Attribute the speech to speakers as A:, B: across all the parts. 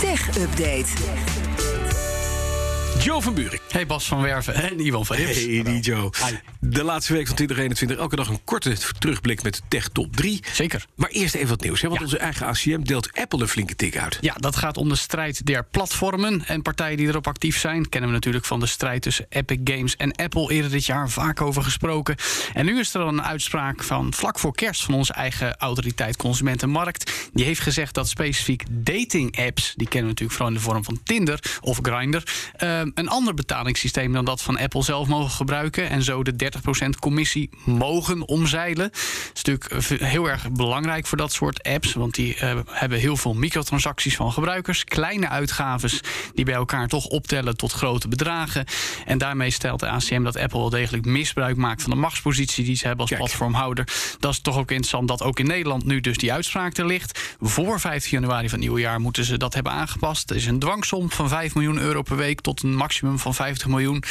A: Tech Update.
B: Joe van Buren.
C: Hey Bas van Werven en Iwan van Rips.
B: Hey, die Joe. De laatste week van 2021. Elke dag een korte terugblik met de Tech Top 3.
C: Zeker.
B: Maar eerst even wat nieuws. Hè? Want
C: Ja.
B: onze eigen ACM deelt Apple een flinke tik uit.
C: Ja, dat gaat om de strijd der platformen en partijen die erop actief zijn. Kennen we natuurlijk van de strijd tussen Epic Games en Apple eerder dit jaar vaak over gesproken. En nu is er een uitspraak van vlak voor kerst van onze eigen autoriteit Consumentenmarkt. Die heeft gezegd dat specifiek dating apps, die kennen we natuurlijk vooral in de vorm van Tinder of Grindr, eh, een ander betalingssysteem dan dat van Apple zelf mogen gebruiken. En zo de 30% commissie mogen omzeilen. Dat is natuurlijk eh, heel erg belangrijk voor dat soort apps. Want die eh, hebben heel veel microtransacties van gebruikers. Kleine uitgaves die bij elkaar toch optellen tot grote bedragen. En daarmee stelt de ACM dat Apple wel degelijk misbruik maakt van de machtspositie die ze hebben als
B: Kijk.
C: platformhouder. Dat is toch ook interessant dat ook in Nederland nu dus die uitspraak er ligt. Voor 15 januari van het nieuwe jaar moeten ze dat hebben aangepast. Er is een dwangsom van 5 miljoen euro per week tot een maximum van 50 miljoen.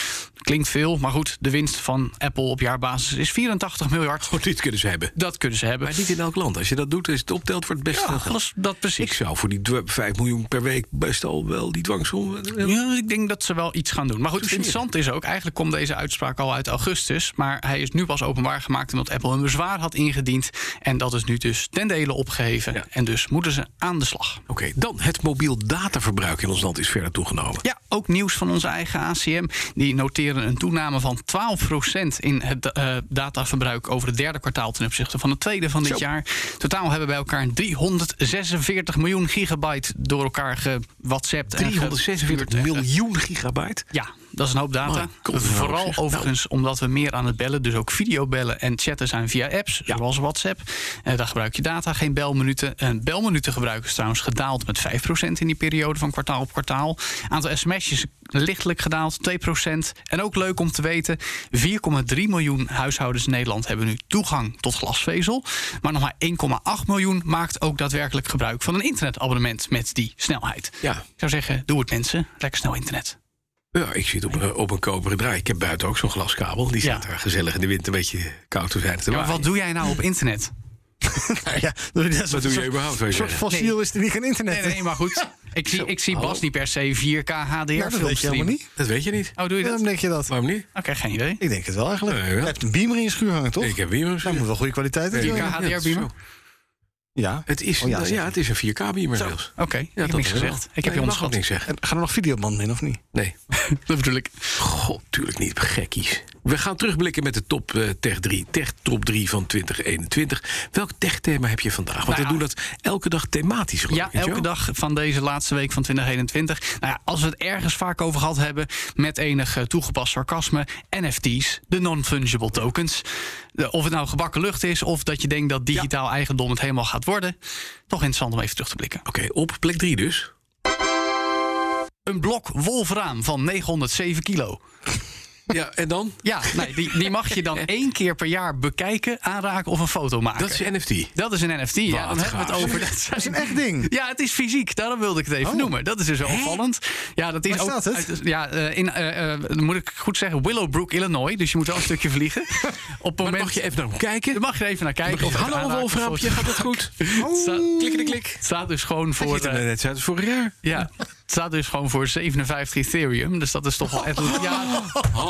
C: Klinkt veel, maar goed, de winst van Apple op jaarbasis is 84 miljard.
B: Goed, dit kunnen ze hebben.
C: Dat kunnen ze hebben.
B: Maar niet in elk land. Als je dat doet, als je het optelt, wordt het best veel
C: Ja,
B: geld.
C: dat, is- dat
B: Ik
C: precies.
B: zou voor die dw- 5 miljoen per week best al wel die dwangsom...
C: Ja, ik denk dat ze wel iets gaan doen. Maar goed,
B: Toucheer.
C: interessant is ook, eigenlijk komt deze uitspraak al uit augustus. Maar hij is nu pas openbaar gemaakt omdat Apple een bezwaar had ingediend. En dat is nu dus ten dele opgeheven.
B: Ja.
C: En dus moeten ze aan de slag.
B: Oké, dan het mobiel dataverbruik in ons land is verder toegenomen.
C: Ja, ook nieuws van onze eigen ACM. Die noteren een toename van 12% in het eh, dataverbruik over het derde kwartaal ten opzichte van het tweede van dit
B: Zo.
C: jaar. Totaal hebben wij elkaar 346 miljoen gigabyte door elkaar gewhatsappt. en ge-
B: 346
C: gestuurd en ge-
B: miljoen gigabyte.
C: Ja, dat is een hoop data.
B: Mooi. Kom, nou,
C: Vooral
B: zeg.
C: overigens omdat we meer aan het bellen, dus ook videobellen en chatten zijn via apps,
B: Ja.
C: zoals WhatsApp. Eh, daar gebruik je data, geen belminuten. En belminuten gebruik is trouwens gedaald met 5% in die periode van kwartaal op kwartaal. Aantal sms'jes lichtelijk gedaald, 2%. En ook leuk om te weten, 4,3 miljoen huishoudens in Nederland hebben nu toegang tot glasvezel. Maar nog maar 1,8 miljoen maakt ook daadwerkelijk gebruik van een internetabonnement met die snelheid.
B: Ja,
C: Ik zou zeggen, doe het mensen, lekker snel internet.
B: Ja, ik zit op een, op een koperen draai. Ik heb buiten ook zo'n glaskabel. Die
C: Ja.
B: staat daar gezellig in de winter een beetje koud te zijn. Te
C: Ja, maar
B: waaien.
C: wat doe jij nou op internet?
D: Nou ja, dat is
B: Wat doe
D: een
B: je
D: soort-
B: überhaupt? weet
D: Een
B: je?
D: soort fossiel is er niet geen internet.
C: Nee, nee, maar goed. Ik zie, ik zie
B: hallo.
C: Bas niet per se 4K
D: Nou,
C: HDR
D: dat weet
C: films
D: je helemaal
C: streamen.
D: niet.
B: Dat weet je niet.
C: Oh, doe je dat?
D: Waarom
C: Oké,
D: denk je dat?
B: Waarom niet?
C: geen idee.
D: Ik denk het wel eigenlijk.
B: Nee, wel.
D: Je hebt een beamer in je schuur hangen, toch?
B: Ik heb hier
D: Daar moet wel goede kwaliteit in
B: Nee,
D: zijn.
C: ik-
B: ja, dat is
C: HDR-beamer?
B: zo.
D: Ja.
B: Het is,
D: Oh, ja,
B: ja,
D: zeg je.
B: het is een 4K-beamer zelfs.
C: Oké, ik heb niks gezegd. Ik heb
B: mag
C: je
B: ook
C: onderschat.
B: niks zeggen.
D: En gaan er nog videobanden in, of niet?
B: Nee.
C: Dat bedoel ik.
B: God, tuurlijk niet. Gekkies. We gaan terugblikken met de top eh, Tech 3. Tech top 3 van 2021. Welk tech-thema heb je vandaag? Want
C: Nou,
B: we doen dat elke dag thematisch. geloof
C: Ja,
B: ik, hè,
C: elke
B: Jo?
C: dag van deze laatste week van 2021. Nou ja, als we het ergens vaak over gehad hebben, met enig eh, toegepast sarcasme, NFT's, de non-fungible tokens. De- Of het nou gebakken lucht is, of dat je denkt dat digitaal eigendom het helemaal gaat worden. Toch interessant om even terug te blikken.
B: Oké, op plek 3 dus.
C: Een blok wolfraam van 907 kilo.
B: Ja, en dan?
C: Ja, nee, die, die mag je dan één keer per jaar bekijken, aanraken of een foto maken.
B: Dat is NFT.
C: Dat is een NFT. Ja,
B: Wat
C: dan hebben we
B: gaaf.
C: het over. Dat
D: Dat is een
C: zijn-
D: echt ding.
C: ja, het is fysiek. Daarom wilde ik het even noemen. Dat is dus wel opvallend. Ja, dat is
D: Waar
C: ook.
D: staat het?
C: uit- ja, eh, in, eh, eh, dan moet ik goed zeggen, Willowbrook, Illinois. Dus je moet wel een stukje vliegen. Op het
B: Maar
C: moment.
B: mag je even naar hem kijken?
C: Dan mag je er even naar kijken.
B: Of Hallo wolfraampje, gaat het goed?
C: Klikken de klik. Staat dus gewoon voor.
B: Ziet er
C: eh,
B: net uit als vorig jaar.
C: ja, het staat dus gewoon voor 57 Ethereum. Dus dat is toch wel echt. Ja,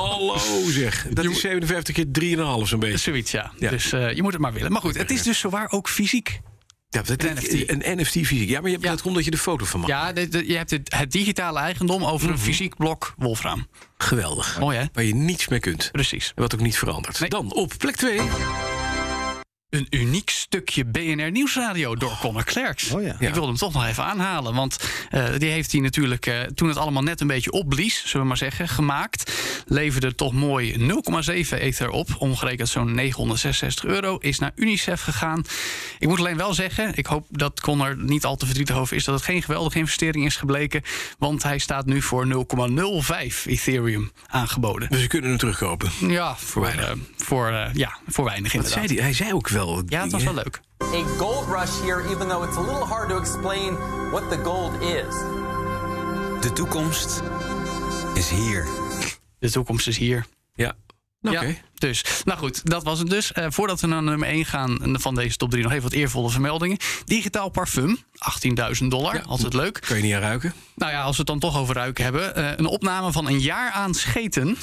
B: Hallo zeg. Dat is 57 keer 3,5 zo'n beetje.
C: Zoiets, ja.
B: Ja.
C: Dus eh, je moet het maar willen. Maar goed, het is dus zowaar ook fysiek.
B: Ja, dat,
C: Een NFT.
B: Een NFT fysiek. Ja, maar je,
C: Ja.
B: dat komt dat je er foto van maakt.
C: Ja, dit- dit- je hebt het, het digitale eigendom over een fysiek blok wolfraam.
B: Geweldig.
C: Mooi, hè?
B: Waar je niets mee kunt.
C: Precies.
B: En wat ook niet verandert.
C: Nee.
B: Dan op plek 2.
C: Een uniek stukje BNR Nieuwsradio door Conor Clerks.
D: Oh ja.
C: Ik wilde hem toch nog even aanhalen. Want eh, die heeft hij natuurlijk, eh, toen het allemaal net een beetje opblies, zullen we maar zeggen, gemaakt. Leverde toch mooi 0,7 ether op. Omgerekend zo'n 966 euro. Is naar UNICEF gegaan. Ik moet alleen wel zeggen, ik hoop dat Conor er niet al te verdrietig over is, dat het geen geweldige investering is gebleken. Want hij staat nu voor 0,05 ethereum aangeboden.
B: Dus we kunnen hem terugkopen.
C: Ja, voor, eh, voor, eh, ja, voor weinig
B: Dat
C: inderdaad.
B: zei hij, hij zei ook wel.
C: Ja, dat was wel leuk.
E: a gold rush here, even though it's a little hard to explain what the gold is.
F: De toekomst is hier.
C: De toekomst is hier.
B: Ja. Nou, Oké.
C: Ja, Dus, nou goed, dat was het dus. Eh, voordat we naar nummer 1 gaan eh, van deze top 3, nog even wat eervolle vermeldingen. Digitaal parfum, 18.000 dollar.
B: Ja.
C: Altijd leuk.
B: Kan je niet aan ruiken?
C: Nou ja, als we het dan toch over ruiken hebben. eh, een opname van een jaar aan scheten.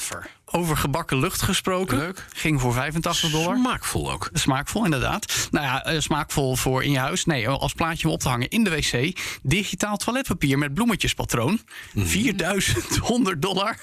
C: Over gebakken lucht gesproken.
B: Leuk.
C: Ging voor 85 dollar.
B: Smaakvol ook.
C: Smaakvol, inderdaad. Nou ja, eh, smaakvol voor in je huis. Nee, als plaatje om op te hangen in de wc. Digitaal toiletpapier met bloemetjespatroon. 4100 dollar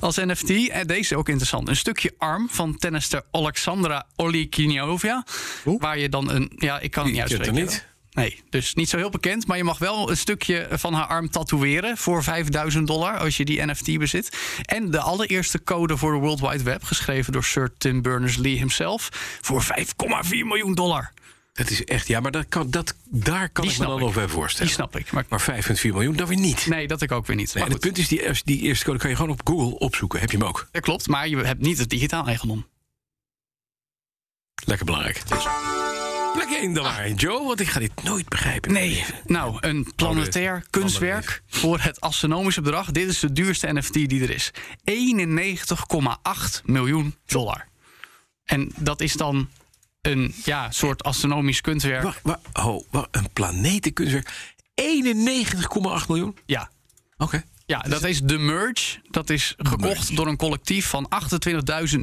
C: als NFT. En deze ook interessant. Een stukje arm van tennister Alexandra Olikiniova. Waar je dan een... Ja, ik kan het niet
B: Ik ken het
C: uitspreken.
B: niet.
C: Nee, dus niet zo heel bekend. Maar je mag wel een stukje van haar arm tatoeëren voor 5000 dollar als je die NFT bezit. En de allereerste code voor de World Wide Web, geschreven door Sir Tim Berners-Lee himself, voor 5,4 miljoen dollar.
B: Dat is echt, ja, maar dat kan, dat, daar kan
C: Die
B: ik me
C: snap
B: dan
C: ik.
B: nog bij voorstellen.
C: Die snap ik. Maar,
B: Maar 5,4 miljoen, dat weer niet.
C: nee, dat ik ook weer niet.
B: Nee, het
C: Maar goed,
B: punt is, die, eerste- die eerste code kan je gewoon op Google opzoeken. Heb je hem ook?
C: dat klopt, maar je hebt niet het digitaal eigendom.
B: Lekker belangrijk. Dus. Plek 1 dan maar, Joe, want ik ga dit nooit begrijpen.
C: Ah. Nee, nou, een planetair kunstwerk voor het astronomische bedrag. Dit is de duurste NFT die er is. 91,8 miljoen dollar. En dat is dan een ja, soort astronomisch kunstwerk.
B: Wacht, wacht, oh, wacht, een planetenkunstwerk. 91,8 miljoen?
C: Ja.
B: Oké.
C: Ja, dat is The Merge. Dat is gekocht
B: Merge.
C: door een collectief van 28.983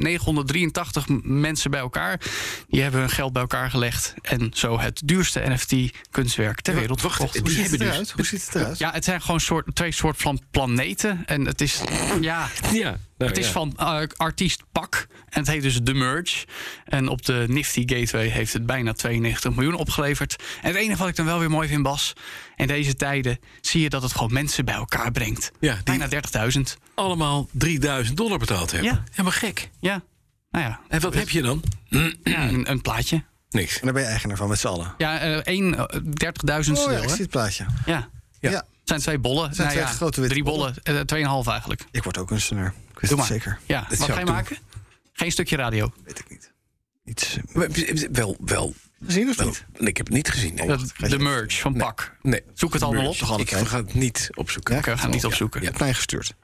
C: m- mensen bij elkaar. Die hebben hun geld bij elkaar gelegd en zo het duurste NFT-kunstwerk ter wereld
B: wacht,
C: gekocht.
B: die hebben dus-
D: Eruit? Hoe ziet het eruit?
C: Ja, het zijn gewoon soort, twee soorten van planeten. En het is, ja,
B: Ja, nou,
C: het is
B: ja.
C: van eh, artiest Pak. En het heet dus The Merge. En op de Nifty Gateway heeft het bijna 92 miljoen opgeleverd. En het enige wat ik dan wel weer mooi vind, Bas... in deze tijden zie je dat het gewoon mensen bij elkaar brengt.
B: Ja, die-
C: Bijna 30.000.
B: allemaal 3000 dollar betaald hebben.
C: Ja.
B: maar gek.
C: Ja, nou ja,
B: En wat heb je dan?
C: ja, een, een plaatje.
B: Niks.
D: En daar ben je eigenaar van met z'n allen.
C: Ja, eh één, eh, 30.000ste
D: Oh ja,
C: deel,
D: ik
C: hè?
D: zie het plaatje.
C: Ja,
D: Ja.
C: het zijn twee bollen.
D: zijn
C: Nou
D: twee
C: ja,
D: grote witte
C: Drie bollen, eh, tweeënhalf eigenlijk.
D: Ik word ook kunstenaar. Ik weet
C: Doe
D: het
C: maar.
D: zeker.
C: Ja,
B: Dat
C: wat
B: zou
C: ga je
B: ik doen.
C: maken? Geen stukje radio.
D: Weet ik niet. Iets eh,
B: Wel, wel.
D: gezien of
B: wel
D: niet?
B: ik heb het niet gezien. Nee.
C: Dat-
D: ga je
C: de
D: even-
C: merge van Pak.
B: Nee.
C: Zoek het allemaal op.
D: Merge.
B: Ik ga het niet opzoeken.
D: Ja?
C: Oké, we gaan het niet opzoeken.
D: Je hebt mij gestuurd.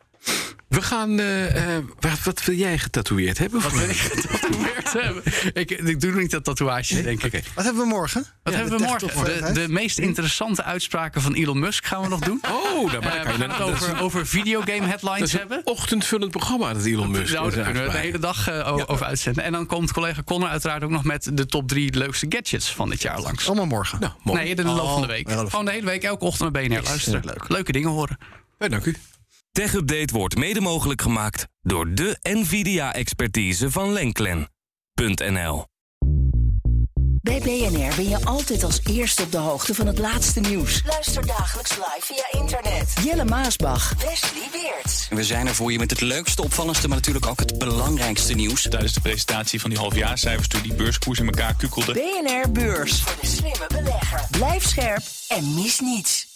B: We gaan. eh, eh, wat, wat wil jij getatoeëerd hebben? Wat wil ik?
C: Geprobeerd te hebben. ik, ik doe niet dat tatoeage, denk ik.
D: Wat hebben we morgen?
C: Wat
D: Ja,
C: hebben we
D: de
C: morgen? De,
D: techtopveiligheid.
C: de meest interessante uitspraken van Elon Musk gaan we nog doen.
B: Oh, daar maar
C: Eh, we
B: kan je
C: gaan het
B: dan dat is-
C: over, over videogame
B: dat
C: headlines
B: is
C: hebben.
B: een ochtendvullend programma dat Elon Musk.
C: Nou, daar
B: is
C: kunnen we de
B: aanspraak.
C: hele dag eh, o- over uitzenden. En dan komt collega Connor uiteraard ook nog met de top drie leukste gadgets van dit jaar langs.
D: Allemaal morgen.
B: Nou, mooi.
C: Nee, in de loop van de week.
D: de loop van-
C: Gewoon de hele week, elke ochtend naar BNR luisteren.
D: leuk.
C: Leuke dingen horen.
B: Ja, Eh, dank u.
A: TechUpdate wordt mede mogelijk gemaakt door de NVIDIA-expertise van Lenklen.nl.
F: Bij BNR ben je altijd als eerste op de hoogte van het laatste nieuws.
G: Luister dagelijks live via internet.
F: Jelle Maasbach,
G: Wesley Weert.
H: We zijn er voor je met het leukste, opvallendste, maar natuurlijk ook het belangrijkste nieuws.
I: tijdens de presentatie van die halfjaarcijfers toen die beurskoers in elkaar kukkelde.
F: BNR Beurs.
G: Voor de slimme belegger.
F: Blijf scherp en mis niets.